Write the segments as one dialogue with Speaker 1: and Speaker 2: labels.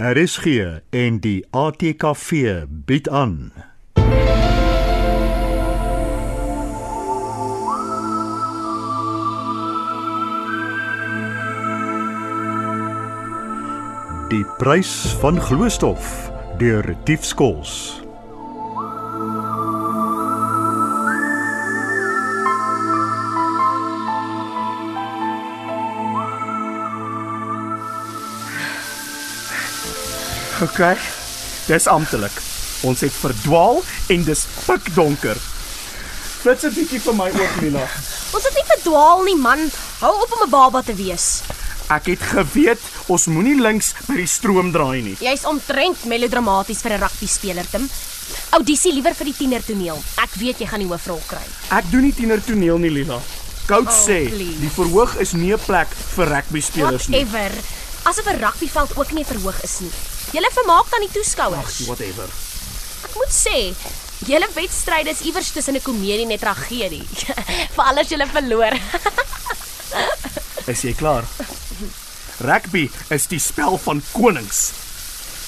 Speaker 1: RSG en die ATKV bied aan. Die prys van gloeistof deur Retief Skols.
Speaker 2: OK. Dis amptelik. Ons het verdwaal en dis pikdonker. Flits 'n bietjie vir my oop, Lila.
Speaker 3: Ons het nie verdwaal nie, man. Hou op om 'n baba te wees.
Speaker 2: Ek het geweet ons moenie links by die stroom draai nie.
Speaker 3: Jy's omtrent melodramaties vir 'n rugbyspeler, Tim. Audisie liewer vir die tienertoneel. Ek weet jy gaan die hoofrol kry.
Speaker 2: Ek doen nie tiener toneel nie, Lila. Coach
Speaker 3: Oh,
Speaker 2: sê
Speaker 3: please.
Speaker 2: die verhoog is nie 'n plek vir rugby spelers nie.
Speaker 3: Whatever. Asof 'n rugbyveld ook nie 'n verhoog is nie. Julle vermaak dan die toeskouers.
Speaker 2: Whatever.
Speaker 3: Ek moet sê, julle wedstryde is iewers tussen 'n komedie en 'n tragedie. Veral as julle verloor.
Speaker 2: Is jy klaar? Rugby is die spel van konings.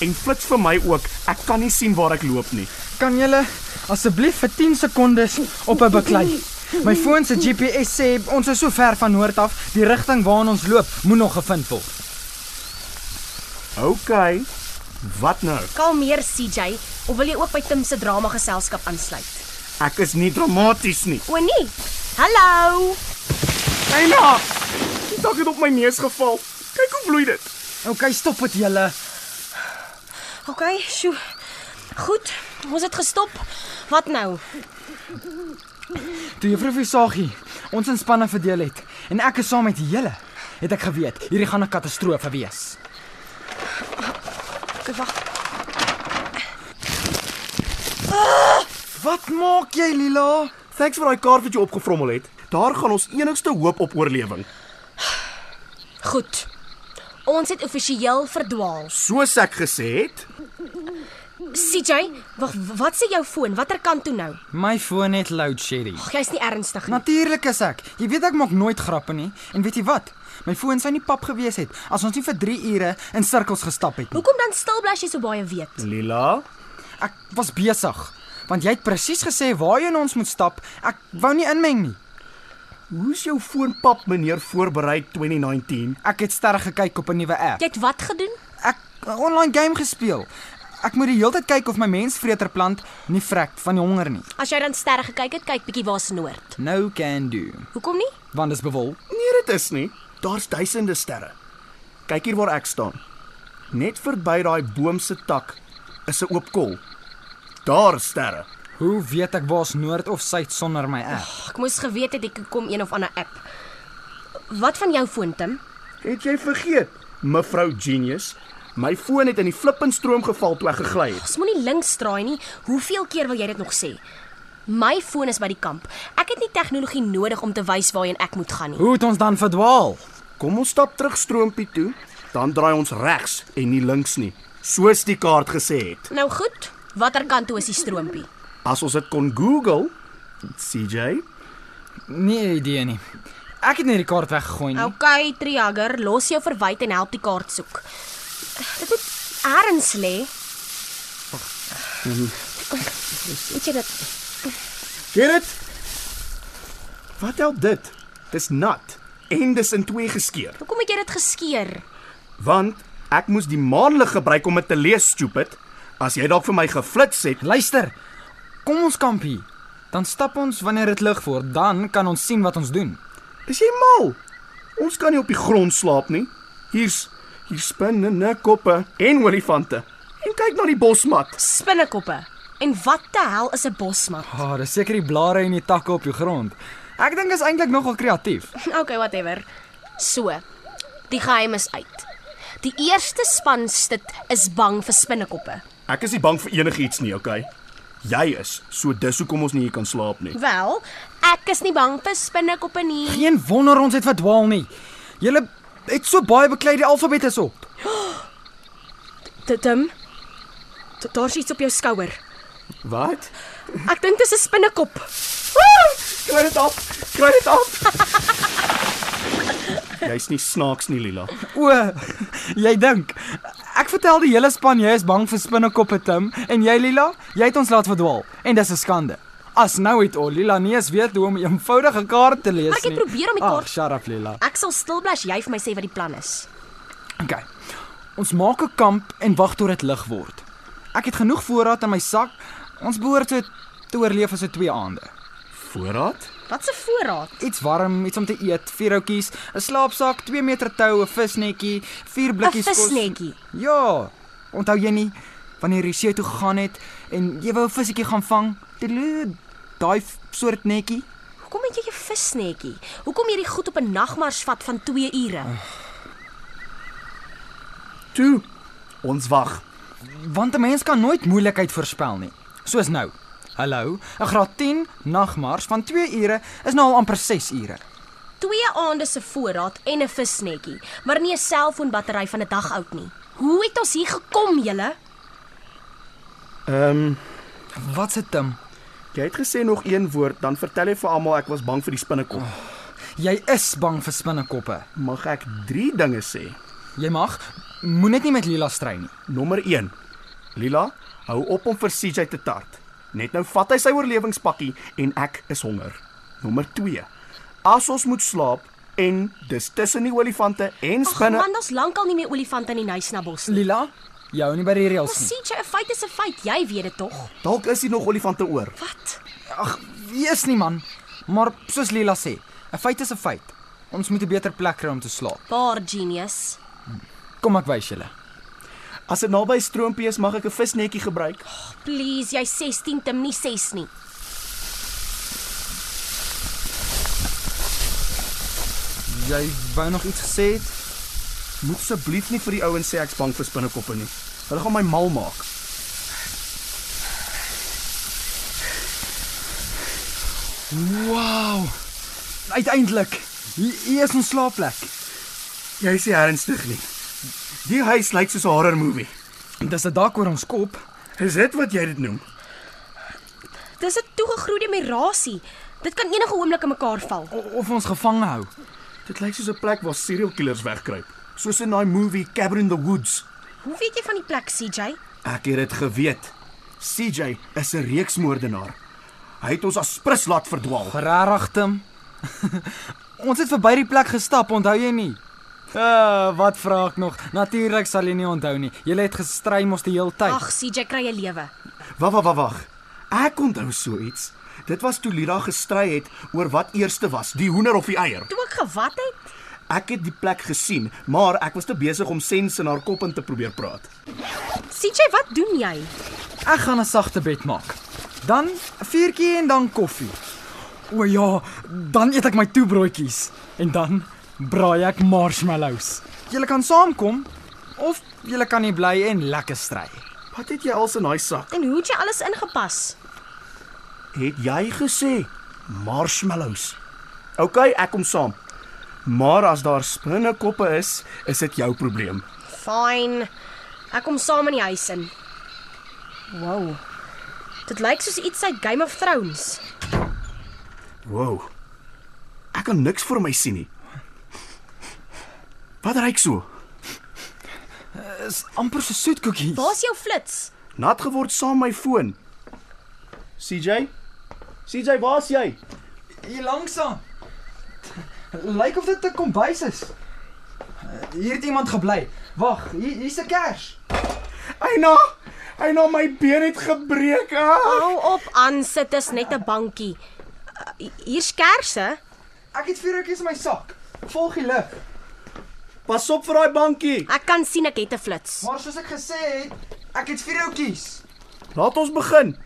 Speaker 2: En flits vir my ook. Ek kan nie sien waar ek loop nie.
Speaker 4: Kan julle asseblief vir 10 sekondes op 'n beklei? My foon se GPS sê ons is so ver van noord af, die rigting waarna ons loop moet nog gevind word.
Speaker 2: OK. Wat nou?
Speaker 3: Kalmeer CJ, of wil jy ook by Tim se drama geselskap aansluit?
Speaker 2: Ek is nie dramaties nie.
Speaker 3: O nee. Hallo.
Speaker 2: Eina! Die tak het op my neus geval. Kyk hoe bloei dit.
Speaker 4: OK, stop dit julle.
Speaker 3: OK, sjoe. Goed, ons het gestop. Wat nou?
Speaker 4: Toe juffrou Visagie ons in spanne verdeel het en ek is saam met julle, het ek geweet hierdie gaan 'n katastrofe wees.
Speaker 3: Ek wag.
Speaker 4: Wat maak jy, Lila?
Speaker 2: Thanks vir daai kaart wat jy opgevrommel het. Daar gaan ons enigste hoop op oorlewing.
Speaker 3: Goed. Ons het amptelik verdwaal.
Speaker 2: Soos ek gesê het,
Speaker 3: CJ, wag, wat sê jou foon? Watter kant toe nou?
Speaker 4: My foon het load shedding.
Speaker 3: Ag, jy's nie ernstig nie.
Speaker 4: Natuurlik is ek. Jy weet ek maak nooit grappe nie. En weet jy wat? My foon sou nie pap gewees het as ons nie vir 3 ure in sirkels gestap het nie.
Speaker 3: Hoekom dan stil bly as jy so baie weet?
Speaker 2: Lila,
Speaker 4: Ek was besig, want jy het presies gesê waarheen ons moet stap. Ek wou nie inmeng nie.
Speaker 2: hoe's jou foonpap meneer voorberei 2019?
Speaker 4: Ek het sterre gekyk op 'n nuwe app.
Speaker 3: Jy het wat gedoen?
Speaker 4: Ek 'n online game gespeel. Ek moet die heeltyd kyk of my mensvreterplant nie vrek van die honger nie.
Speaker 3: As jy dan sterre gekyk het, kyk bietjie waar's noord.
Speaker 4: No Nou can do,
Speaker 3: Hoekom nie?
Speaker 4: want dis bewol.
Speaker 2: Nee, dit is nie. Daar's duisende sterre. Kyk hier waar ek staan. Net verby daai boom se tak is 'n oop kol. Daar is sterre.
Speaker 4: Hoe weet ek waar's noord of suid sonder my app?
Speaker 3: Ag, ek moes geweet het ek kom een of ander app. Wat van jou foon, Tim?
Speaker 2: Het jy vergeet, mevrou Genius? My foon het in die flippenstroom geval toe ek gegly het.
Speaker 3: Ons moenie links draai nie. Hoeveel keer wil jy dit nog sê? My foon is by die kamp. Ek het nie tegnologie nodig om te wys waarheen ek moet gaan nie.
Speaker 4: Hoe het ons dan verdwaal?
Speaker 2: Kom ons stap terug stroompie toe, dan draai ons regs en nie links nie, soos die kaart gesê het.
Speaker 3: Nou goed, watter kant toe is die stroompie?
Speaker 2: As ons dit kon Google, CJ,
Speaker 4: Nee idee nie. Ek het net die kaart weggegooi nie.
Speaker 3: OK, Triagger, los jou verwyd en help die kaart soek. Dit moet ergens lê. Weet jy dit?
Speaker 2: get dit? Wat help dit? Dis nat en dis in twee geskeur,
Speaker 3: Hoekom het jy dit geskeer?
Speaker 2: want ek moes die maanlig gebruik om dit te lees, stupid. As jy dalk vir my geflits het,
Speaker 4: Luister. Kom ons kamp hier. Dan stap ons wanneer dit lig word, dan kan ons sien wat ons doen.
Speaker 2: is jy mal. Ons kan nie op die grond slaap nie. Hier's hier spinne, koppe en olifante. En kyk na die bosmat.
Speaker 3: Spinnekoppe. En wat die hel is 'n bosmat?
Speaker 4: Ah, oh, dis seker die blare en die takke op die grond. Ek dink is eintlik nogal kreatief.
Speaker 3: Okay, whatever. So, die geheim is uit. Die eerste span stit is bang vir spinnekoppe.
Speaker 2: Ek is nie bang vir enigiets nie, okay? Jy is. So dis hoekom ons nie hier kan slaap nie.
Speaker 3: Wel, ek is nie bang vir spinnekoppe nie.
Speaker 4: Geen wonder ons het verdwaal nie. Julle het so baie beklei die alfabet is op.
Speaker 3: Tim. Daar's iets op jou skouer.
Speaker 2: Wat?
Speaker 3: Ek dink dis 'n spinnekop.
Speaker 2: Kry dit af. Kry dit af. Jy's nie snaaks nie, Lila.
Speaker 4: O, jy dink ek vertel die hele span jy is bang vir spinnekoppe Tim en jy Lila, jy het ons laat verdwaal en dis 'n skande. As nou het al Lila nie eens weet hoe om 'n eenvoudige kaart te lees nie.
Speaker 3: Maar ek het probeer om die kaart-
Speaker 4: Ag, shut up Lila.
Speaker 3: Ek sal stil bly as jy vir my sê wat die plan is.
Speaker 4: Okay. Ons maak 'n kamp en wag tot dit lig word. Ek het genoeg voorraad in my sak. Ons behoort te, te oorleef as dit twee aande.
Speaker 2: Voorraad?
Speaker 3: Wat 'n voorraad.
Speaker 4: Iets warm, iets om te eet, vier houtjies, 'n slaapsak, 2 meter tou, 'n visnetjie, vier
Speaker 3: 'n
Speaker 4: blikkies
Speaker 3: Visnetjie.
Speaker 4: Ja. Onthou jy nie wanneer jy see toe gegaan het en jy wou 'n visjetjie gaan vang? Toeloe, Daai f- soort netjie.
Speaker 3: Hoekom het jy 'n visnetjie? Hoekom hierdie goed op 'n nagmars vat van 2 ure?
Speaker 2: Toe. Ons wag.
Speaker 4: Want 'n mens kan nooit moeilikheid voorspel nie. Soos nou. Hallo, 'n graad 10 nagmars van 2 ure is nou al amper 6 ure.
Speaker 3: Twee aande se voorraad en 'n visnetjie, maar nie 'n selfoonbattery van 'n dag oud nie. Hoe het ons hier gekom, julle?
Speaker 2: Ehm, um,
Speaker 4: Wat se Tim?
Speaker 2: jy het gesê nog een woord, dan vertel jy vir almal ek was bang vir die spinnekop.
Speaker 4: Jy is bang vir spinnekoppe.
Speaker 2: Mag ek 3 dinge sê?
Speaker 4: Jy mag moet net nie met Lila strei nie.
Speaker 2: Nommer 1. Lila, hou op om vir CJ te tart. Net nou vat hy sy oorlewingspakkie en ek is honger. Nommer 2. As ons moet slaap en dis tussen die olifante en
Speaker 3: Ag
Speaker 2: spinne.
Speaker 3: man, ons lankal nie meer olifante in die Nysnabos nie.
Speaker 4: Lila, jy hou nie by die reëls
Speaker 3: Ons
Speaker 4: nie.
Speaker 3: sien jy 'n feit is 'n feit, jy weet dit tog.
Speaker 2: Dalk is hier nog olifante oor.
Speaker 3: Wat?
Speaker 4: Ag, wees nie man. Maar soos Lila sê, 'n feit is 'n feit. Ons moet 'n beter plek kry om te slaap.
Speaker 3: Paar genius.
Speaker 4: Kom ek wys julle.
Speaker 2: As dit naby 'n stroompie is, mag ek 'n visnetjie gebruik.
Speaker 3: Please, jy 16 Tim nie 6 nie.
Speaker 4: Jy wou nog iets gesê het?
Speaker 2: Moet asseblief nie vir die ouens sê ek's bang vir spinnekoppe nie. Hulle gaan my mal maak.
Speaker 4: Wow. Uiteindelik. Hier hier is ons slaapplek.
Speaker 2: Jy is nie ernstig nie. Die huis lyk soos 'n horror movie.
Speaker 4: Dis 'n dak oor ons kop.
Speaker 2: Is dit wat jy dit noem?
Speaker 3: Dis 'n toegegroeide merasie. Dit kan enige oomblik in mekaar val.
Speaker 4: O- Of ons gevange hou.
Speaker 2: Dit lyk soos 'n plek waar serial killers wegkruip, soos in daai movie Cabin in the Woods.
Speaker 3: Hoe weet jy van die plek, CJ?
Speaker 2: Ek het dit geweet. CJ is 'n reeksmoordenaar. Hy het ons as prins laat verdwaal.
Speaker 4: Regtig, Tim. ons het verby die plek gestap, onthou jy nie? Uh, wat vra ek nog? Natuurlik sal jy nie onthou nie. Jy het gestry mos die hele tyd.
Speaker 3: Ag, CJ kry 'n lewe.
Speaker 2: Wag, wag, wag, wag. Ek onthou so iets. Dit was toe Lira gestry het oor wat eerste was, die hoender of die eier.
Speaker 3: Toe ek gewat het,
Speaker 2: Ek het die plek gesien, maar ek was te besig om sens in haar kop in te probeer praat.
Speaker 3: CJ, wat doen jy?
Speaker 4: Ek gaan 'n sagte bed maak. Dan 'n vuurtjie en dan koffie. O ja, dan eet ek my toebroodjies en dan braai ek marshmallows. Julle kan saamkom of julle kan hier bly en lekker stry.
Speaker 2: Wat het jy als in daai sak?
Speaker 3: En hoe het jy alles ingepas?
Speaker 2: Het jy gesê marshmallows? OK, ek kom saam. Maar as daar spinnekoppe is, is dit jou probleem.
Speaker 3: Fyn. Ek kom saam in die huis in. Wow. Dit lyk soos iets uit Game of Thrones.
Speaker 2: Wow. Ek kan niks vir my sien nie. Wat ryk so?
Speaker 4: Dis amper so soetkoekies.
Speaker 3: Waar's jou flits?
Speaker 2: Nat geword saam my foon. CJ? CJ, waar's jy?
Speaker 4: Hier langsaan. Lyk of dit 'n kombuis is. Hier het iemand gebly. Wag, hier hier's 'n kers.
Speaker 2: Eina, Eina my been het gebreek. Ah.
Speaker 3: Hou op aan sit, is net 'n bankie. Uh, Hier's kersse.
Speaker 4: Ek het vuurtjies in my sak. Volg die lig.
Speaker 2: Pas op vir daai bankie.
Speaker 3: Ek kan sien ek het 'n flits.
Speaker 4: Maar soos ek gesê het, ek het vuurtjies.
Speaker 2: Laat ons begin.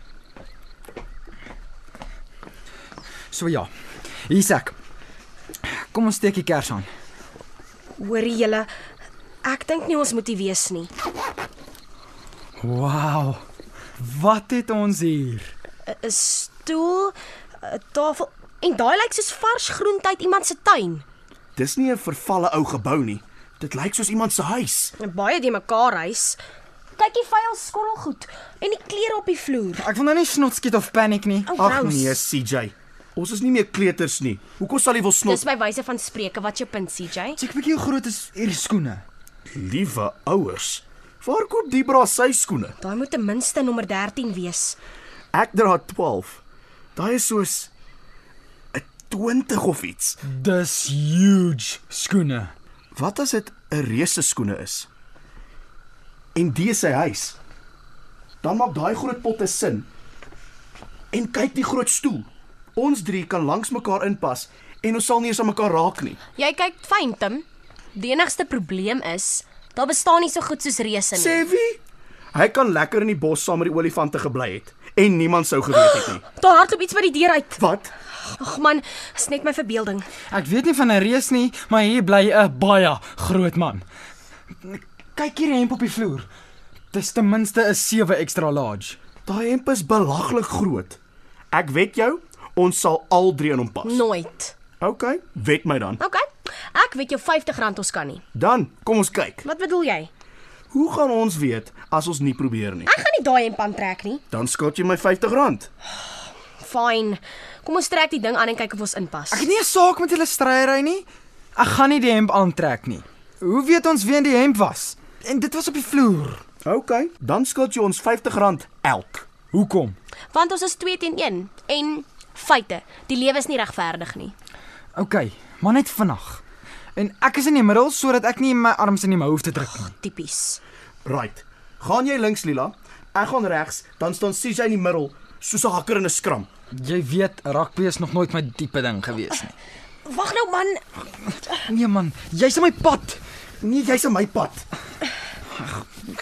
Speaker 4: So ja. Hier's ek. Kom ons steek die kers aan.
Speaker 3: Hoorie julle, ek dink nie ons moet hier wees nie.
Speaker 4: Wow. Wat het ons hier?
Speaker 3: 'n Stoel, 'n tafel en daai lyk soos vars groente uit iemand se tuin.
Speaker 2: Dis nie 'n vervalle ou gebou nie. Dit lyk soos iemand se huis.
Speaker 3: 'n Baie die mekaar huis. Kyk die vuil skorrelgoed en die klere op die vloer.
Speaker 4: Ek wil nou nie snot skiet of paniek nie.
Speaker 3: Oh,
Speaker 2: Ag nee, CJ. Ons is nie meer kleuters nie. Hoekom sal jy wil snot?
Speaker 3: Dis by wyse van spreuke wat jou punt CJ.
Speaker 4: Check bietjie hoe groot is hierdie skoene.
Speaker 2: Liewe ouers, waar koop die bra sy skoene?
Speaker 3: Daai moet ten minste nommer 13 wees.
Speaker 2: Ek dra 12. Daai is soos 'n 20 of iets.
Speaker 4: Dis huge skoene.
Speaker 2: Wat as dit 'n reuse skoene is? En die is sy huis. Dan maak daai groot potte sin. En kyk die groot stoel. Ons drie kan langs mekaar inpas en ons sal nie eens aan mekaar raak nie.
Speaker 3: Jy kyk fyn, Tim. Die enigste probleem is daar bestaan nie so goed soos reëse nie.
Speaker 2: Sê wie? Hy kan lekker in die bos saam met die olifante gebly het en niemand sou geweet het nie.
Speaker 3: Daar hardloop iets by die deur uit.
Speaker 2: Wat?
Speaker 3: Ag man, is net my verbeelding.
Speaker 4: Ek weet nie van 'n reus nie, maar hier bly 'n baie groot man. Kyk hier die hemp op die vloer. Dis ten minste 'n 7 extra large.
Speaker 2: Daai hemp is belaglik groot. Ek wed jou, ons sal al drie in hom pas.
Speaker 3: Nooit.
Speaker 2: OK, wed my dan.
Speaker 3: OK. Ek weet jou R50 ons kan nie.
Speaker 2: Dan, kom ons kyk.
Speaker 3: Wat bedoel jy?
Speaker 2: Hoe gaan ons weet as ons nie probeer nie?
Speaker 3: Ek gaan nie daai hemp aantrek nie.
Speaker 2: Dan skuld jy my R50.
Speaker 3: Fyn. Kom ons trek die ding aan en kyk of ons inpas.
Speaker 4: Ek het nie 'n saak met julle stryery nie. Ek gaan nie die hemp aantrek nie. Hoe weet ons wie in die hemp was? En dit was op die vloer.
Speaker 2: OK, dan skuld jy ons R50 elk.
Speaker 4: Hoekom?
Speaker 3: Want ons is 2 teen 1 en feite, die lewe is nie regverdig nie.
Speaker 4: OK, maar net vinnig. En ek is in die middel sodat ek nie my arms in die mou hoef te druk nie.
Speaker 3: Tipies.
Speaker 2: Right. Gaan jy links, Lila? Ek gaan regs, dan staan CJ in die middel soos 'n hakker in 'n skram.
Speaker 4: Jy weet, rugby is nog nooit my diepe ding gewees nie.
Speaker 3: Wag nou man,
Speaker 4: Nee man, jy's op my pad.
Speaker 2: Nee, jy's op my pad.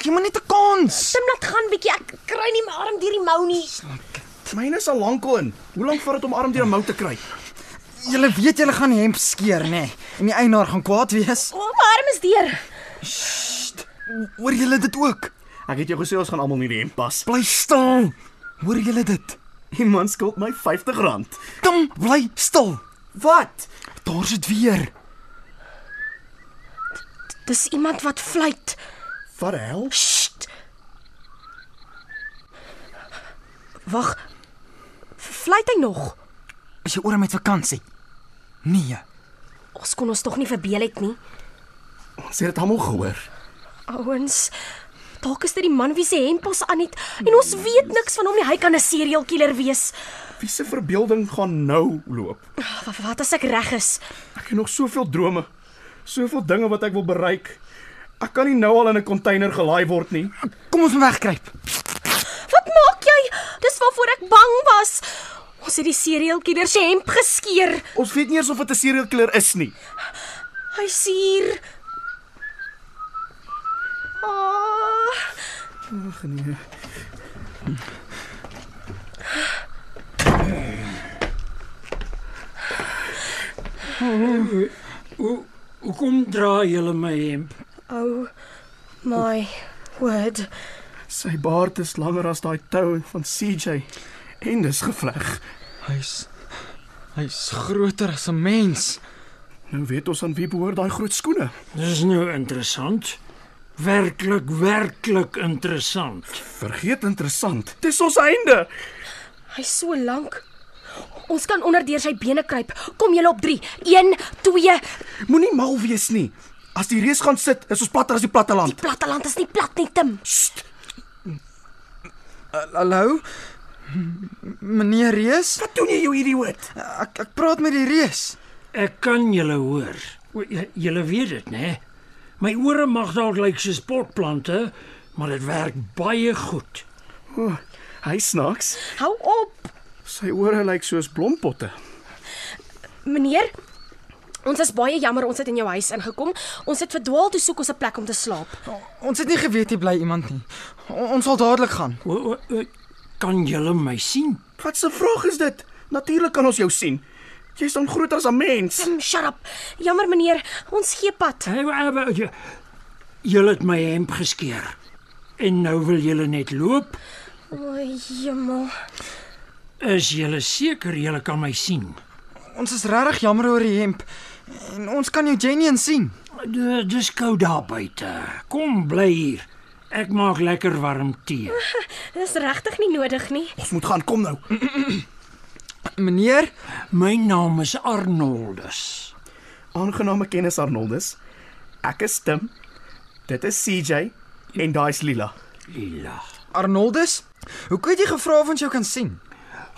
Speaker 4: Gee my net 'n kans.
Speaker 3: Tim laat gaan bietjie. Ek kry nie my arm deur die mou nie.
Speaker 2: Myne is al lankal in. Hoe lank vat dit om arm deur 'n mou te kry?
Speaker 4: Julle weet julle gaan die hemp skeer, nê? Nee. En die eienaar gaan kwaad wees
Speaker 3: O, my arm is deur.
Speaker 4: oor julle dit ook.
Speaker 2: Ek het jou gesê ons gaan almal nie die hemp pas.
Speaker 4: Bly stil. Hoor julle dit?
Speaker 2: Iemand skuld my R50.
Speaker 4: Tom, bly stil.
Speaker 2: Wat?
Speaker 4: Daar's dit weer.
Speaker 3: Dis iemand wat fluit.
Speaker 2: Wat die hel?
Speaker 3: Sst. Wag. Fluit hy nog?
Speaker 4: Is jy oor met vakansie? Nee.
Speaker 3: Ons kon ons tog nie verbeel het nie.
Speaker 2: Ons het dit almal gehoor.
Speaker 3: Ouens, dalk is dit die man wie se hemp ons aan het en ons weet niks van hom nie. Hy kan 'n serial killer wees.
Speaker 2: Wie se verbeelding gaan nou loop?
Speaker 3: Wat, wat as ek reg is?
Speaker 2: Ek het nog soveel drome, soveel dinge wat ek wil bereik. Ek kan nie nou al in 'n container gelaai word nie.
Speaker 4: Kom ons moet wegkruip.
Speaker 3: Wat maak jy? Dis waarvoor ek bang was. Ons het die serial killer se hemp geskeur.
Speaker 2: Ons weet nie eens of dit 'n serial killer is nie.
Speaker 3: Hy suur. Ah,
Speaker 5: Hoe hoekom dra julle my hemp?
Speaker 3: oh my word.
Speaker 2: Sy baard is langer as daai tou van CJ en dis gevleg.
Speaker 4: Hy's hy's groter as 'n mens.
Speaker 2: Nou weet ons aan wie behoort daai groot skoene.
Speaker 5: Dis nou interessant. Werklik, werklik interessant.
Speaker 2: Vergeet interessant. Dis ons einde.
Speaker 3: Hy's so lank. Ons kan onder deur sy bene kruip. Kom julle op 3. 1 2
Speaker 2: Moenie mal wees nie. As die reus gaan sit, is ons platter as die platteland.
Speaker 3: Platteland is nie plat nie, Tim.
Speaker 2: Sst,
Speaker 4: Hallo? M- Meneer Reus?
Speaker 2: wat doen jy, jou idioot?
Speaker 4: Ek ek praat met die Reus.
Speaker 5: Ek kan julle hoor. O, j- Julle weet dit, né? My ore mag dalk lyk soos potplante, maar dit werk baie goed.
Speaker 2: Oh, hy snaaks.
Speaker 3: Hou op,
Speaker 2: Sy ore lyk soos blompotte.
Speaker 3: meneer. Ons is baie jammer ons het in jou huis ingekom. Ons het verdwaal toe soek ons 'n plek om te slaap.
Speaker 4: Ons het nie geweet hier bly iemand nie. O, ons sal dadelik gaan.
Speaker 5: O, o, o, kan julle my sien?
Speaker 2: Wat 'n vraag is dit? Natuurlik kan ons jou sien. Jy's dan groter as 'n mens.
Speaker 3: Tim, Mm, shut up. Jammer meneer, ons gee pad.
Speaker 5: Hey, wa- wa- j- Julle het my hemp geskeur. En nou wil julle net loop?
Speaker 3: O, jemmel.
Speaker 5: Is julle seker julle kan my sien?
Speaker 4: Ons is regtig jammer oor die hemp. En ons kan jou Jenny en sien.
Speaker 5: D- Dis koud daar buite. Kom bly hier. Ek maak lekker warm tee.
Speaker 3: Dis regtig nie nodig nie.
Speaker 2: Ons moet gaan, kom nou.
Speaker 4: Meneer,
Speaker 5: My naam is Arnoldus.
Speaker 2: Aangename kennis Arnoldus. Ek is Tim. Dit is CJ en daai's Lila.
Speaker 5: Lila.
Speaker 4: Arnoldus, hoekom het jy gevra of ons jou kan sien?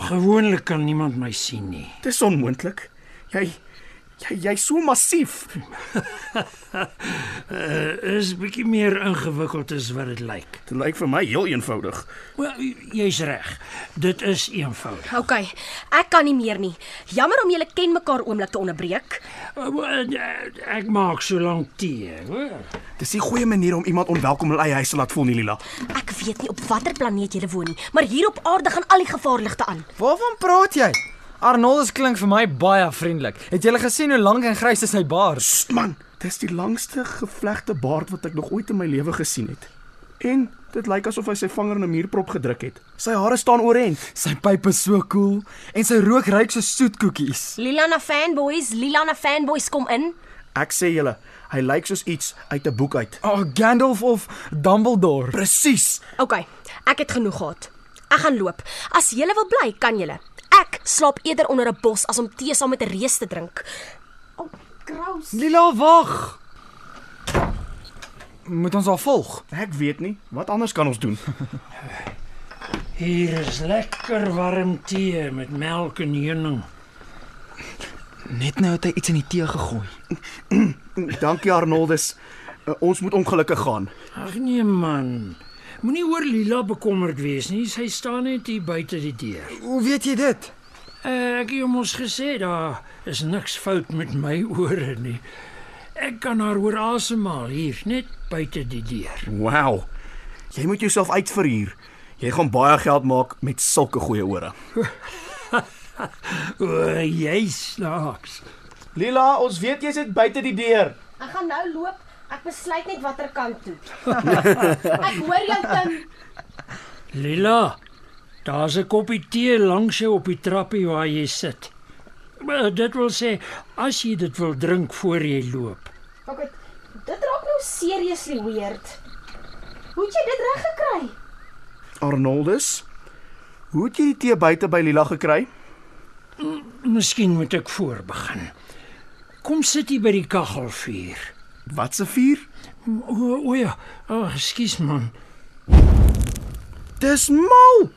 Speaker 5: Gewoonlik kan niemand my sien nie.
Speaker 2: Dis onmoontlik. Jy jy jy's so massief.
Speaker 5: Is bietjie meer ingewikkeld as wat dit lyk.
Speaker 2: Dit lyk vir my heel eenvoudig.
Speaker 5: Wel, jy's reg. Dit is eenvoudig.
Speaker 3: OK, ek kan nie meer nie. Jammer om julle ken mekaar oomblik te onderbreek.
Speaker 5: Wel, Ek maak so lank tee, hoor.
Speaker 2: Dis 'n goeie manier om iemand onwelkom in hulle eie huis te laat voel, nie Lila.
Speaker 3: Ek weet nie op watter planeet julle woon nie, maar hier op aarde gaan al die gevaarligte aan.
Speaker 4: Waarvan praat jy? Arnoldus klink vir my baie vriendelik. Het jy gesien hoe lank en grys is sy baard?
Speaker 2: Sst man, dis die langste gevlegte baard wat ek nog ooit in my lewe gesien het. En dit lyk asof hy sy vinger in 'n muurprop gedruk het. Sy hare staan oorent.
Speaker 4: Sy pyp is so cool en sy rook ruik so soetkoekies.
Speaker 3: Lila na fanboys, Lila na fanboys kom in.
Speaker 2: Ek sê julle, hy lyk soos iets uit 'n boek uit.
Speaker 4: Oh, Gandalf of Dumbledore.
Speaker 2: Presies.
Speaker 3: OK, ek het genoeg gehad. Ek gaan loop. As julle wil bly, kan julle. Ek slaap eerder onder 'n bos as om tee saam met 'n reus te drink. O, oh, kraus.
Speaker 4: Lila, wag. Moet ons haar volg?
Speaker 2: Ek weet nie, wat anders kan ons doen?
Speaker 5: Hier is lekker warm tee met melk en heuning.
Speaker 4: Net nou het hy iets in die tee gegooi.
Speaker 2: Dankie Arnoldus. Uh, ons moet ongelukkig gaan.
Speaker 5: Ag nee man. Moenie oor Lila bekommerd wees nie. Sy staan net hier buite die deur.
Speaker 4: Hoe weet jy dit?
Speaker 5: Eh, Ek het jou mos gesê daar is niks fout met my ore nie. Ek kan haar hoor asemhaal hier net buite die deur.
Speaker 2: Wow. Jy moet jouself uitverhuur. Jy gaan baie geld maak met sulke goeie ore.
Speaker 5: O, jy snaaks.
Speaker 2: Lila, ons weet jy sit buite die deur.
Speaker 3: Ek gaan nou loop. Ek besluit net watter kant toe. ek hoor jou Tim.
Speaker 5: Lila, daar's 'n koppie tee langs jou op die trappie waar jy sit. Maar dit wil sê as jy dit wil drink voor jy loop.
Speaker 3: OK, dit raak nou seriously weird. Hoe het jy dit reg gekry?
Speaker 2: Arnoldus, hoe het jy die tee buite by Lila gekry?
Speaker 5: Miskien moet ek voorbegin. Kom sit hier by die kaggelvuur.
Speaker 2: Wat se vuur?
Speaker 5: O, o ja, ag, ekskuus man.
Speaker 2: Dis mal.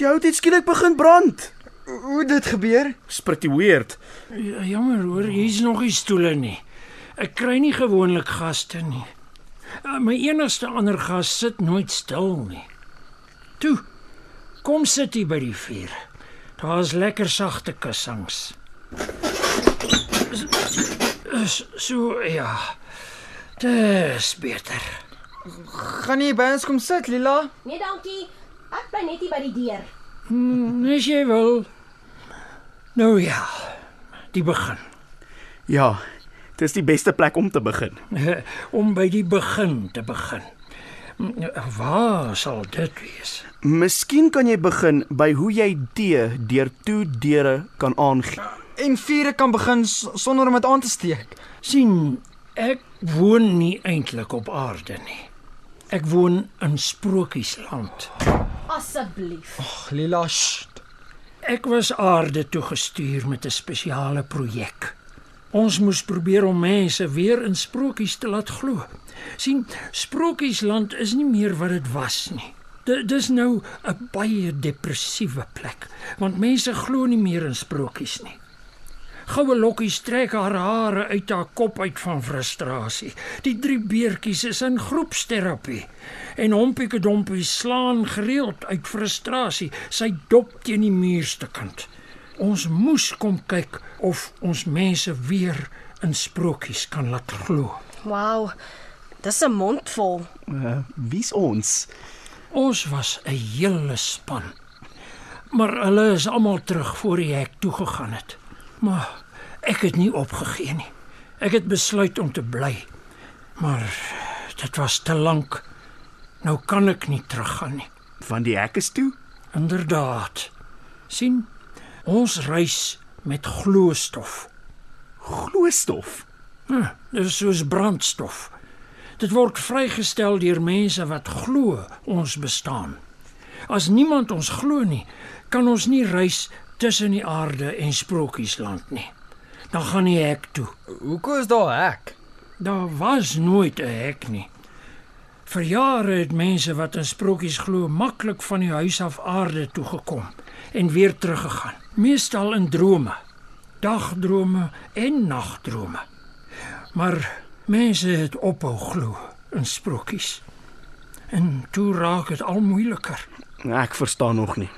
Speaker 2: Die hout het skielik begin brand.
Speaker 4: Hoe dit gebeur?
Speaker 2: Pretty weird.
Speaker 5: Ja, jammer hoor, hier's nog nie stoele nie. Ek kry nie gewoonlik gaste nie. Uh, My enigste ander gas sit nooit stil nie. Toe. Kom sit hier by die vuur. Daar's lekker sagte kussings. Is so ja. Dis beter.
Speaker 4: Gaan jy by ons kom sit, Lila?
Speaker 3: Nee, dankie. Ek bly net hier by die deur.
Speaker 5: As jy wil. Nou ja. Die begin.
Speaker 2: Ja, dis die beste plek om te begin.
Speaker 5: Om by die begin te begin. Waar sal dit wees?
Speaker 2: Miskien kan jy begin by hoe jy tee deur toe deure kan aangee.
Speaker 4: En vure kan begin s- sonder om dit aan te steek.
Speaker 5: sien ek woon nie eintlik op aarde nie. Ek woon in sprokiesland.
Speaker 3: Asseblief.
Speaker 4: Ag, Lila, sst.
Speaker 5: Ek was aarde toe gestuur met 'n spesiale projek. Ons moes probeer om mense weer in sprokies te laat glo. sien, sprokiesland is nie meer wat dit was nie. Dit dis nou 'n baie depressiewe plek, want mense glo nie meer in sprokies nie. Goue lokkies trek haar hare uit haar kop uit van frustrasie. Die drie beertjies is in groepsterapie en Hompiekedompie slaan gereeld uit frustrasie sy dop teen die muurste kant. Ons moes kom kyk of ons mense weer in sprokies kan laat glo.
Speaker 3: Wow. Dis 'n mond vol.
Speaker 2: Uh, wie's ons?
Speaker 5: Ons was 'n hele span. Maar hulle is almal terug voor die hek toe gegaan het. Maar ek het nie opgegee nie. Ek het besluit om te bly. Maar dit was te lank. Nou kan ek nie teruggaan nie.
Speaker 2: Van die hek is toe.
Speaker 5: Inderdaad. sien, ons reis met gloeistof.
Speaker 2: Glooistof.
Speaker 5: Hm, dis soos brandstof. Dit word vrygestel deur mense wat glo ons bestaan. As niemand ons glo nie, kan ons nie reis tussen die aarde en Sprokiesland nie. Dan gaan die hek toe.
Speaker 4: Hoekom is daar hek?
Speaker 5: Daar was nooit 'n hek nie. Vir jare het mense wat in sprokies glo maklik van die huis af aarde toe gekom en weer teruggegaan, meestal in drome, dagdrome en nagdrome. Maar mense het ophou glo in sprokies. En toe raak dit al moeiliker.
Speaker 2: Ek verstaan nog nie.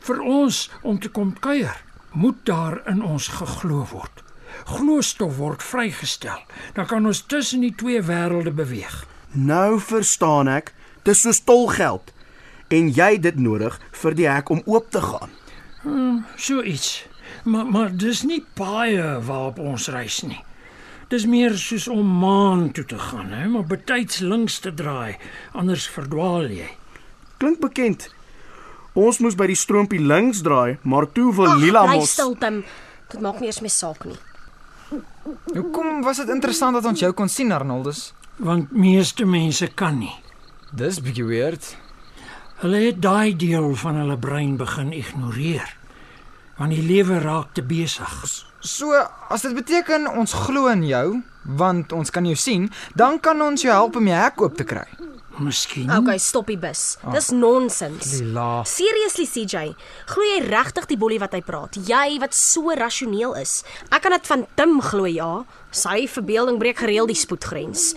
Speaker 5: Vir ons om te kom kuier, moet daar in ons geglo word. Gloostof word vrygestel. Dan kan ons tussen die twee wêrelde beweeg.
Speaker 2: Nou verstaan ek. Dis soos tolgeld. En jy het dit nodig vir die hek om oop te gaan.
Speaker 5: So iets. Maar maar dis nie baie waarop ons reis nie. Dis meer soos om maan toe te gaan, hè, maar betyds links te draai, anders verdwaal jy.
Speaker 2: Klink bekend. Ons moes by die stroompie links draai, maar toe wil Lila
Speaker 3: bly
Speaker 2: mos
Speaker 3: stil, Tim. Dit maak nie eers my saak nie.
Speaker 4: Hoekom was dit interessant dat ons jou kon sien, Arnoldus?
Speaker 5: Want meeste mense kan nie.
Speaker 4: Dis bietjie weird.
Speaker 5: Hulle het daai deel van hulle brein begin ignoreer. Want die lewe raak te besig.
Speaker 4: So, as dit beteken ons glo in jou, want ons kan jou sien, dan kan ons jou help om die hek oop te kry.
Speaker 5: Miskien.
Speaker 2: Hmm.
Speaker 3: Okay, stop die bus.
Speaker 2: Ah.
Speaker 3: Dis nonsens.
Speaker 4: Lila.
Speaker 3: Seriously CJ, glo jy regtig die boelie wat hy praat? Jy wat so rasioneel is. Ek kan dit van Tim glo, ja. Sy verbeelding breek gereeld die spoedgrens.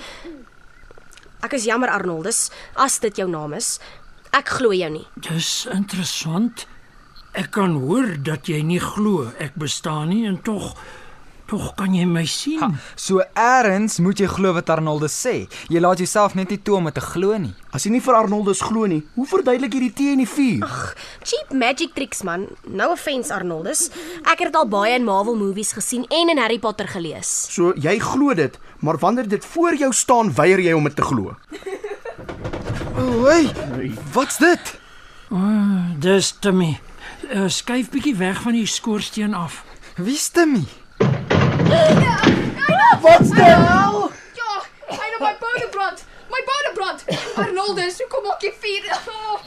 Speaker 3: Ek is jammer Arnoldus, as dit jou naam is. Ek glo jou nie.
Speaker 5: Dis interessant. Ek kan hoor dat jy nie glo ek bestaan nie en tog tog kan jy my sien. Ha.
Speaker 4: So eers moet jy glo wat Arnoldus sê. Jy laat jouself net nie toe om dit te glo nie.
Speaker 2: As jy nie vir Arnoldus glo nie, hoe verduidelik jy die tee en die vuur?
Speaker 3: Cheap magic tricks man. No offense Arnoldus. Ek het dit al baie in Marvel movies gesien en in Harry Potter gelees.
Speaker 2: So jy glo dit, maar wanneer dit voor jou staan, weier jy om dit te glo.
Speaker 4: Oei, wat's dit?
Speaker 5: Dis Timmy. Uh, skuif bietjie weg van die skoorsteen af.
Speaker 4: Wie stemmy?
Speaker 6: Ja, hy het my boude brand. My boude brand. Arnoldus, hoe kom ek hier vuur? Oh,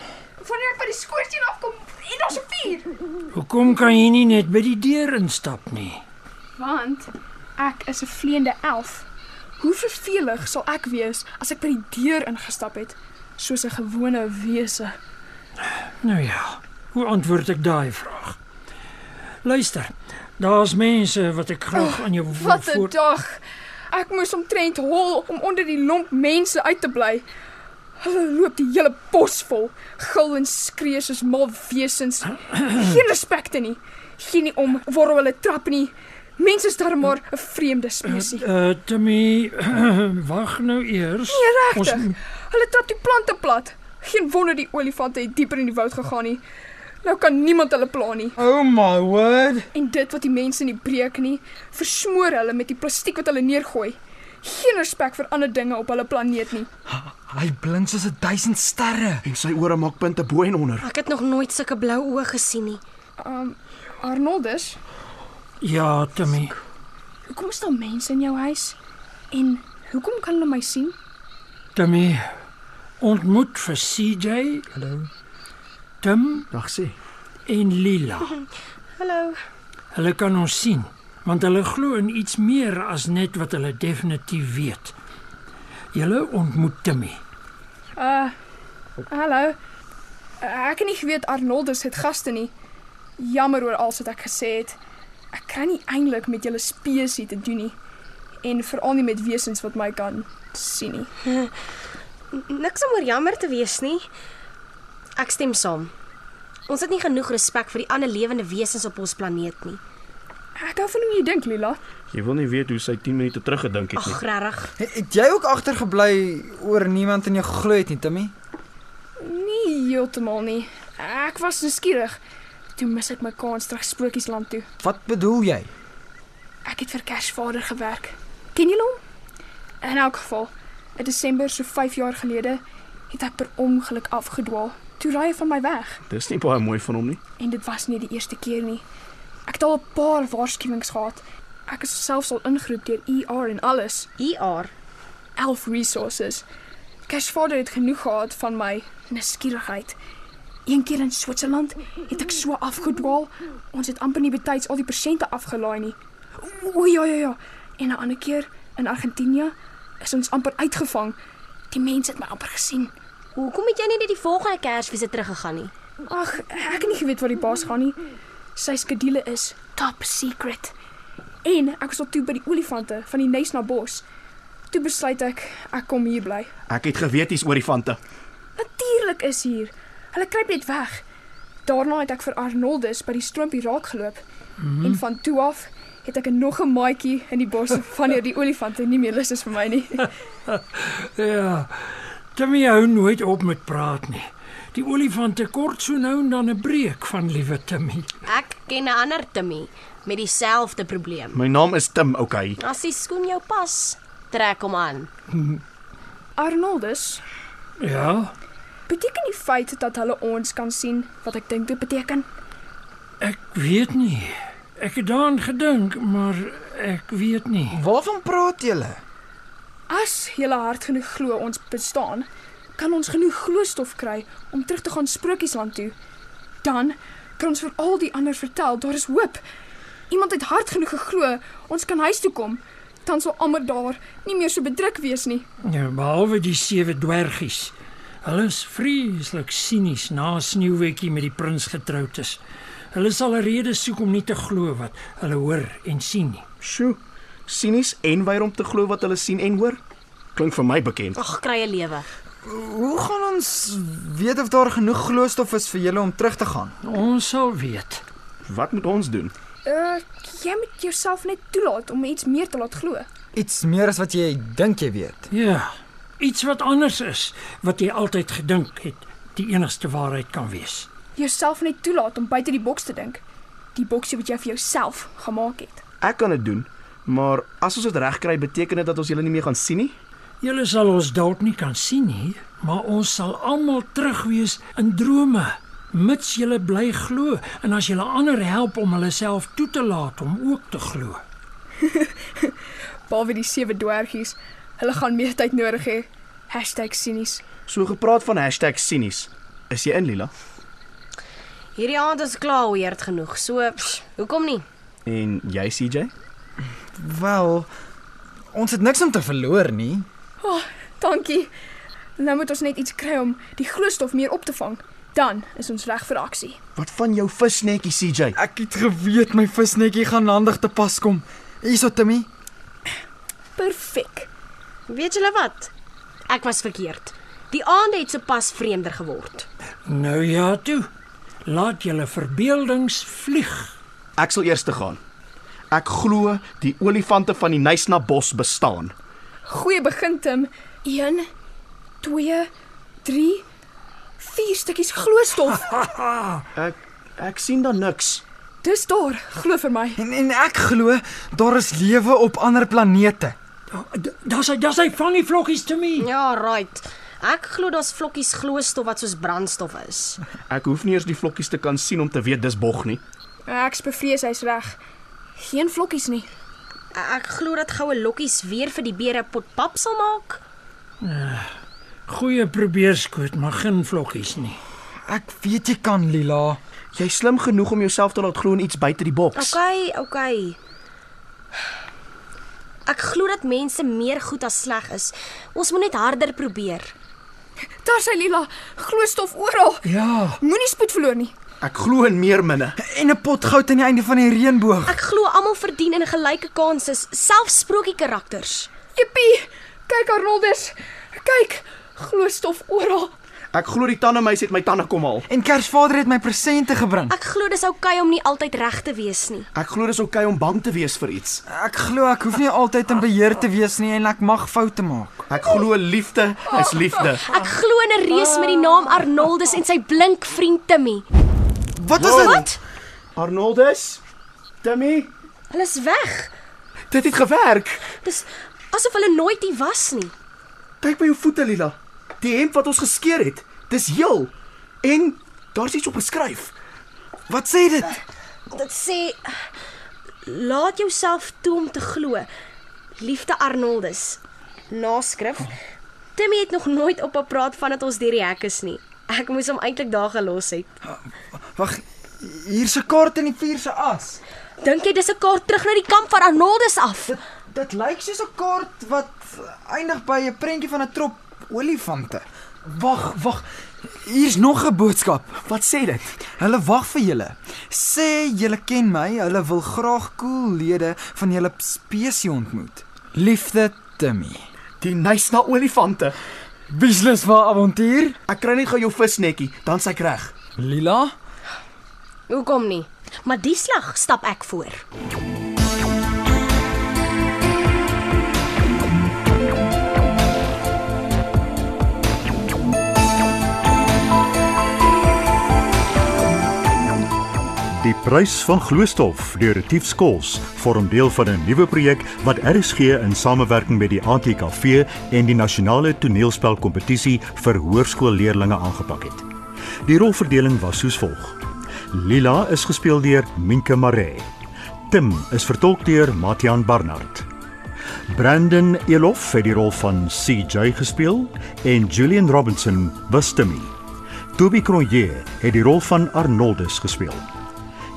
Speaker 6: Wanneer ek by die skoorsteen afkom en daar's 'n vuur.
Speaker 5: Hoekom kan jy nie net by die deur instap nie?
Speaker 6: Want ek is 'n vleiende elf. Hoe vervelig sal ek wees as ek by die deur ingestap het soos 'n gewone wese?
Speaker 5: Nou ja, hoe antwoord ek daai vraag? Luister. Daar's mense wat ek graag aan jou wil
Speaker 6: Oh, Wat 'n dag. Ek moes omtrent hol om onder die lomp mense uit te bly. Hulle loop die hele bos vol, gil en skree soos mal wesens. Geen respek te nie. Geen nie om waarop hulle trap nie. Mense is darem maar 'n vreemde spesies.
Speaker 5: Uh Timmy, wag nou eers.
Speaker 6: Nee, regtig.
Speaker 5: Ons moet-
Speaker 6: Hulle trap die plante plat. Geen wonder die olifante het dieper in die woud gegaan nie. Nou kan niemand hulle pla nie.
Speaker 4: Oh my word.
Speaker 6: En dit wat die mense nie breek nie, versmoor hulle met die plastiek wat hulle neergooi. Geen respek vir ander dinge op hulle planeet nie.
Speaker 4: Hy blink soos 'n duisend sterre.
Speaker 2: En sy ore maak punte bo en onder.
Speaker 3: Ek het nog nooit sulke blou oë gesien nie.
Speaker 6: Um Arnoldus,
Speaker 5: Ja, Timmy.
Speaker 6: hoekom is daar mense in jou huis? En hoekom kan hulle my sien?
Speaker 5: Timmy, ontmoet vir CJ. Hallo. Tim
Speaker 2: Dag sê.
Speaker 5: en Lila.
Speaker 3: Hallo.
Speaker 5: Hulle kan ons sien, want hulle glo in iets meer as net wat hulle definitief weet. Julle ontmoet Timmy.
Speaker 6: Uh Hallo. Uh, Ek het nie geweet Arnoldus het gaste nie. Jammer oor alles wat ek gesê het. Ek kan nie eintlik met julle spesies te doen nie en veral nie met wesens wat my kan sien nie.
Speaker 3: Niks om oor jammer te wees nie. Ek stem saam. Ons het nie genoeg respek vir die ander lewende wesens op ons planeet nie.
Speaker 6: Ek hou van hoe jy dink, Lila.
Speaker 7: Jy wil nie weet hoe sy 10 minute terug gedink het nie.
Speaker 3: Ag, regtig.
Speaker 4: Het, het jy ook agtergebly oor niemand in jou glo het nie, Timmy?
Speaker 6: Nee, heeltemal nie. Ek was nuuskierig. Toe mis ek my kans terug Sprokiesland toe.
Speaker 4: Wat bedoel jy?
Speaker 6: Ek het vir Kersvader gewerk. Ken julle hom? In elk geval, in Desember so 5 jaar gelede het ek per ongeluk afgedwaal. Toe raai hy van my weg
Speaker 7: Dis nie baie mooi van hom nie.
Speaker 6: en dit was nie die eerste keer nie. Ek het al 'n paar waarskuwings gehad. Ek is selfs al ingeroep deur ER en alles,
Speaker 3: ER.
Speaker 6: 11 resources. Kersvader het genoeg gehad van my nuuskierigheid. Een keer in Switserland het ek so afgedwaal. Ons het amper nie betyds al die persente afgelaai nie. O ja ja ja. En 'n ander keer in Argentinië is ons amper uitgevang. Die mense het my amper gesien.
Speaker 3: Hoekom het jy nie net die volgende Kersfees het teruggegaan nie?
Speaker 6: Ag, ek het nie geweet wat die baas gaan nie. Sy skedule is top secret. En ek was op toe by die olifante van die nes na bos. Toe besluit ek ek kom hier bly.
Speaker 2: Ek het geweet hier's olifante.
Speaker 6: Natuurlik is hier. Hulle kruip net weg. Daarna het ek vir Arnoldus by die stroompie raakgeloop. Mm. En van toe af het ek nog 'n maatjie in die bos wanneer die olifante nie meer lus is vir my nie.
Speaker 5: Ja. Timmy hou nooit op met praat nie. Die olifante kort so nou en dan 'n breek van liewe Timmy.
Speaker 3: Ek ken 'n ander Timmy met dieselfde probleem.
Speaker 2: My naam is Tim, okay.
Speaker 3: As die skoen jou pas, trek hom aan.
Speaker 6: Arnoldus,
Speaker 5: Ja.
Speaker 6: beteken die feit dat hulle ons kan sien wat ek dink dit beteken?
Speaker 5: Ek weet nie. Ek het daaraan gedink, maar ek weet nie.
Speaker 4: Waarvan praat julle?
Speaker 6: As jy hard genoeg glo ons bestaan, kan ons genoeg gloeistof kry om terug te gaan Sprokiesland toe. Dan kan ons vir al die ander vertel daar is hoop. Iemand het hard genoeg geglo, ons kan huis toe kom. Dan sal almal daar nie meer so bedruk wees nie.
Speaker 5: Ja, behalwe die sewe dwergies. Hulle is vreeslik sinies na sneeuwwetjie met die prins getroud is. Hulle sal 'n rede soek om nie te glo wat hulle hoor en sien nie.
Speaker 2: Sjoe. Sinies en weier om te glo wat hulle sien en hoor. Klink vir my bekend.
Speaker 3: Ag, kry 'n lewe.
Speaker 4: Hoe gaan ons weet of daar genoeg gloeistof is vir julle om terug te gaan?
Speaker 5: Ons sal weet.
Speaker 2: Wat moet ons doen?
Speaker 6: Uh, jy moet jouself net toelaat om iets meer te laat glo.
Speaker 4: Iets meer as wat jy dink jy weet.
Speaker 5: Ja, iets wat anders is wat jy altyd gedink het die enigste waarheid kan wees.
Speaker 6: Jouself net toelaat om buite die boks te dink. Die boksie wat jy vir jouself gemaak het.
Speaker 2: Ek kan dit doen, maar as ons dit reg kry, beteken dit dat ons julle nie meer gaan sien nie.
Speaker 5: Julle sal ons dalk nie kan sien nie, maar ons sal almal terug wees in drome, mits julle bly glo en as julle ander help om hulle self toe te laat om ook te glo.
Speaker 6: Behalwe die sewe dwergies, hulle gaan meer tyd nodig hê. #sinies
Speaker 2: So gepraat van #sinies. Is jy in, Lila?
Speaker 3: Hierdie aand is klaar weerd genoeg. So, pff, hoekom nie?
Speaker 2: En jy, CJ?
Speaker 4: Wel, ons het niks om te verloor nie.
Speaker 6: Dankie. Nou moet ons net iets kry om die gloeistof meer op te vang. Dan is ons reg vir aksie.
Speaker 2: Wat van jou visnetjie, CJ?
Speaker 4: Ek het geweet my visnetjie gaan handig te pas kom. Hierso Timmy.
Speaker 6: Perfek.
Speaker 3: Weet julle wat? Ek was verkeerd. Die aand het sopas vreemder geword.
Speaker 5: Nou ja toe. Laat julle verbeeldings vlieg.
Speaker 2: Ek sal eers te gaan. Ek glo die olifante van die Nysna bos bestaan.
Speaker 6: Goeie begin Tim. 1 2 3 4 stukkies gloeistof.
Speaker 2: Ek ek sien daar niks.
Speaker 6: Dis daar, glo vir my.
Speaker 4: En en ek glo daar is lewe op ander planete.
Speaker 5: Daar's hy, daar's hy vang die vloggies te my.
Speaker 3: Ja, right. Ek glo daar's vlokkies gloostof wat soos brandstof is.
Speaker 2: Ek hoef nie eers die vlokkies te kan sien om te weet dis bog nie.
Speaker 6: Ek's bevrees hy's reg. Geen vlokkies nie.
Speaker 3: E, Ek glo dat goue lokkies weer vir die beere pot pap sal maak.
Speaker 5: Goeie probeerskoot, maar geen vloggies nie.
Speaker 4: Ek weet jy kan Lila.
Speaker 2: Jy's slim genoeg om jouself te laat glo in iets buite die boks.
Speaker 3: Okay, okay. Ek glo dat mense meer goed as sleg is. Ons moet net harder probeer.
Speaker 6: Daar sy Lila, gloeistof oral.
Speaker 5: Ja,
Speaker 6: Moenie spoed verloor nie.
Speaker 2: Ek glo in meer minne.
Speaker 4: En 'n pot goud aan die einde van die reënboog.
Speaker 3: Ek glo almal verdien 'n gelyke kans is, selfs sprokie karakters.
Speaker 6: Jippie! Kyk Arnoldus. Kyk, gloeistof oral.
Speaker 2: Ek glo die tandemeis het my tande kom haal.
Speaker 4: En Kersvader het my presente gebring.
Speaker 3: Ek glo dis oukei okay om nie altyd reg te wees nie.
Speaker 2: Ek glo dis oukei okay om bang te wees vir iets.
Speaker 4: Ek glo ek hoef nie altyd in beheer te wees nie en ek mag foute maak.
Speaker 2: Ek glo liefde is liefde.
Speaker 3: Ek glo in 'n reus met die naam Arnoldus en sy blink vriend Timmy.
Speaker 4: Wat was dit?
Speaker 3: Wat?
Speaker 2: Arnoldus? Timmy,
Speaker 3: Hulle is weg.
Speaker 2: dit het gewerk.
Speaker 3: Dis asof hulle nooit hier was nie.
Speaker 2: Kyk by jou voete, Lila. Die hemp wat ons geskeur het, dis heel. En daar's iets op geskryf.
Speaker 4: Wat sê dit?
Speaker 3: Dit sê laat jouself toe om te glo. Liefde Oh. Arnoldus. Naskrif. Timmy het nog nooit op gepraat van dat ons deur die hek is nie. Ek moes hom eintlik daar gelos het.
Speaker 4: Wag, hier's 'n kaart in die vuur se as.
Speaker 3: Dink jy dis 'n kaart terug na die kamp van Arnoldus af?
Speaker 4: Dit dit lyk soos 'n kaart wat eindig by 'n prentjie van 'n trop olifante. Wag, wag. Hier's nog 'n boodskap.
Speaker 2: Wat sê dit?
Speaker 4: Hulle wag vir julle. Sê julle ken my. Hulle wil graag cool lede van julle spesies ontmoet. Liefde Timmy.
Speaker 2: Die nuus na olifante.
Speaker 4: Wieslus vir avontuur?
Speaker 2: Ek kry net gou jou visnetjie, dan s'ek reg.
Speaker 4: Lila?
Speaker 3: Hoekom nie? Maar die slag stap ek voor.
Speaker 1: Die prys van gloeistof deur Retief Skols vorm deel van 'n nuwe projek wat RSG in samewerking met die ATKV en die Nasionale Toneelspelkompetisie vir hoërskoolleerders aangepak het. Die rolverdeling was soos volg: Lila is gespeel deur Minke Maree. Tim is vertolk deur Matiaan Barnard. Brandon Elof het die rol van CJ gespeel en Julian Robinson was Timmy. Toby Cronje het die rol van Arnoldus gespeel.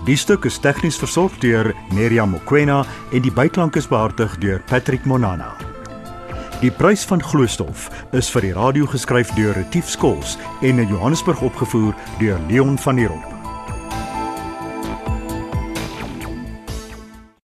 Speaker 1: Die stuk is tegnies versorg deur Neriya Mokoena en die byklank is behartig deur Patrick Monana. Die prys van gloeistof is vir die radio geskryf deur Retief Skols en in Johannesburg opgevoer deur Leon van der Merwe.